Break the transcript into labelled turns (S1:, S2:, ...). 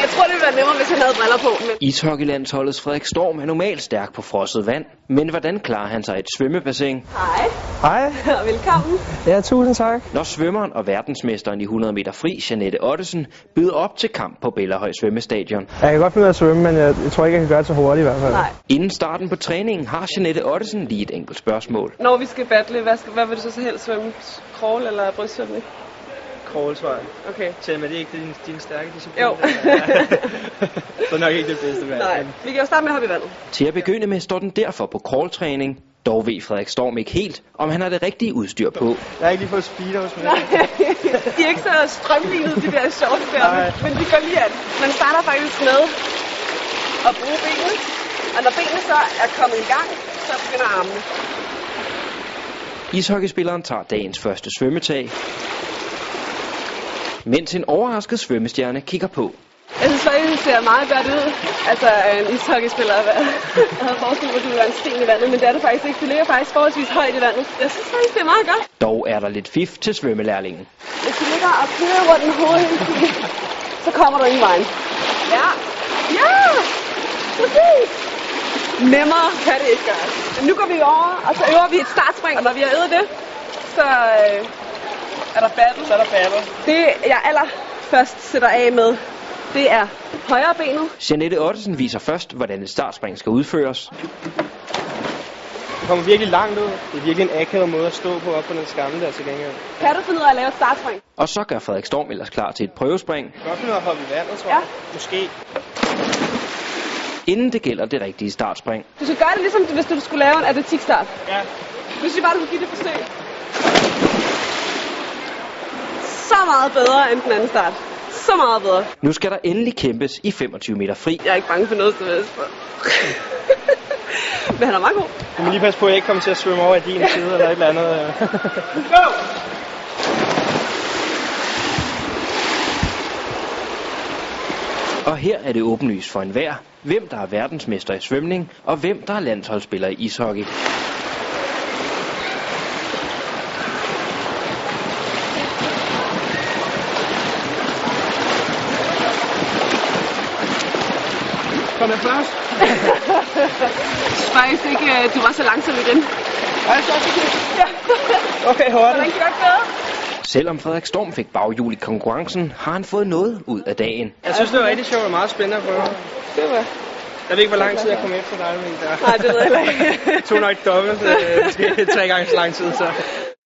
S1: Jeg tror, det ville være nemmere, hvis han havde briller på. Men...
S2: Ishockeylandsholdets Frederik Storm er normalt stærk på frosset vand, men hvordan klarer han sig i et svømmebassin?
S1: Hej,
S3: Hej.
S1: og velkommen.
S3: Ja, tusind tak.
S2: Når svømmeren og verdensmesteren i 100 meter fri, Janette Ottesen, byder op til kamp på Bellahøj Svømmestadion.
S3: Jeg kan godt finde ud af at svømme, men jeg, jeg tror ikke, jeg kan gøre det så hurtigt i hvert fald.
S1: Nej.
S2: Inden starten på træningen har Janette Ottesen lige et enkelt spørgsmål.
S4: Når vi skal battle, hvad, skal, hvad vil du så helst svømme? Crawl eller brystsvømning?
S5: Crawl, tror jeg.
S4: Okay.
S5: Tjena, men det er ikke din, din stærke disciplin.
S4: Jo.
S5: det er nok ikke det bedste valg.
S4: Nej. Vi kan jo starte med at hoppe i vandet.
S2: Til at begynde med står den derfor på crawltræning. Dog ved Frederik Storm ikke helt, om han har det rigtige udstyr på.
S5: Jeg har ikke lige fået speeder hos mig.
S1: De er ikke så strømlignet, de der shorts der, men, men de går lige an. Man starter faktisk med at bruge benene, og når benene så er kommet i gang, så begynder armene.
S2: Ishockeyspilleren tager dagens første svømmetag, mens en overrasket svømmestjerne kigger på.
S4: Jeg synes faktisk, det ser meget godt ud. Altså, en ishockeyspiller hvad- Jeg havde forestillet mig, at det ville være en sten i vandet, men det er det faktisk ikke. Det ligger faktisk forholdsvis højt i vandet. Jeg synes faktisk, det er meget godt.
S2: Dog er der lidt fif til svømmelærlingen.
S1: Hvis du ligger og kører rundt med hovedet, hele tiden, så kommer du ingen vejen. Ja. Ja! Præcis! Nemmere kan det ikke gøres. Men nu går vi over, og så øver vi et startspring, og når vi har øvet det, så øh,
S4: Er der battle, så er der battle.
S1: det, jeg allerførst sætter af med, det er højre benet.
S2: Janette Ottesen viser først, hvordan et startspring skal udføres.
S5: Det kommer virkelig langt ud. Det er virkelig en akavet måde at stå på op på den skamme der til gengæld. Jeg
S1: Kan du finde ud af at lave et startspring?
S2: Og så gør Frederik Storm ellers klar til et prøvespring,
S5: kan godt finde ud af at hoppe i vandet, tror
S1: Ja.
S5: jeg. Måske.
S2: inden det gælder det rigtige startspring.
S1: Du skal gøre det ligesom, hvis du skulle lave en atletikstart.
S5: Ja.
S1: Hvis vi bare skulle give det et forsøg. Så meget bedre end den anden start. Så meget bedre.
S2: Nu skal der endelig kæmpes i 25 meter fri.
S1: Jeg er ikke bange for noget som helst. Men han er meget god.
S5: Du må lige passe på, at jeg ikke kommer til at svømme over i din side eller et eller andet. øh.
S2: Og her er det åbenlyst for enhver, hvem der er verdensmester i svømning, og hvem der er landsholdsspiller i ishockey.
S5: Kom jeg først?
S1: Jeg synes faktisk ikke, øh, du var så langsom igen.
S5: Ej, så er det ikke. Okay, hurtigt.
S1: Hvordan kan jeg gøre?
S2: Selvom Frederik Storm fik baghjul i konkurrencen, har han fået noget ud af dagen.
S5: Jeg synes, det var rigtig sjovt og meget spændende at prøve.
S1: Super.
S5: Jeg ved ikke, hvor lang tid jeg kom efter dig, men der
S1: Nej, det ved jeg heller ikke.
S5: tog nok dobbelt. øh, Måske tre gange så lang tid, så.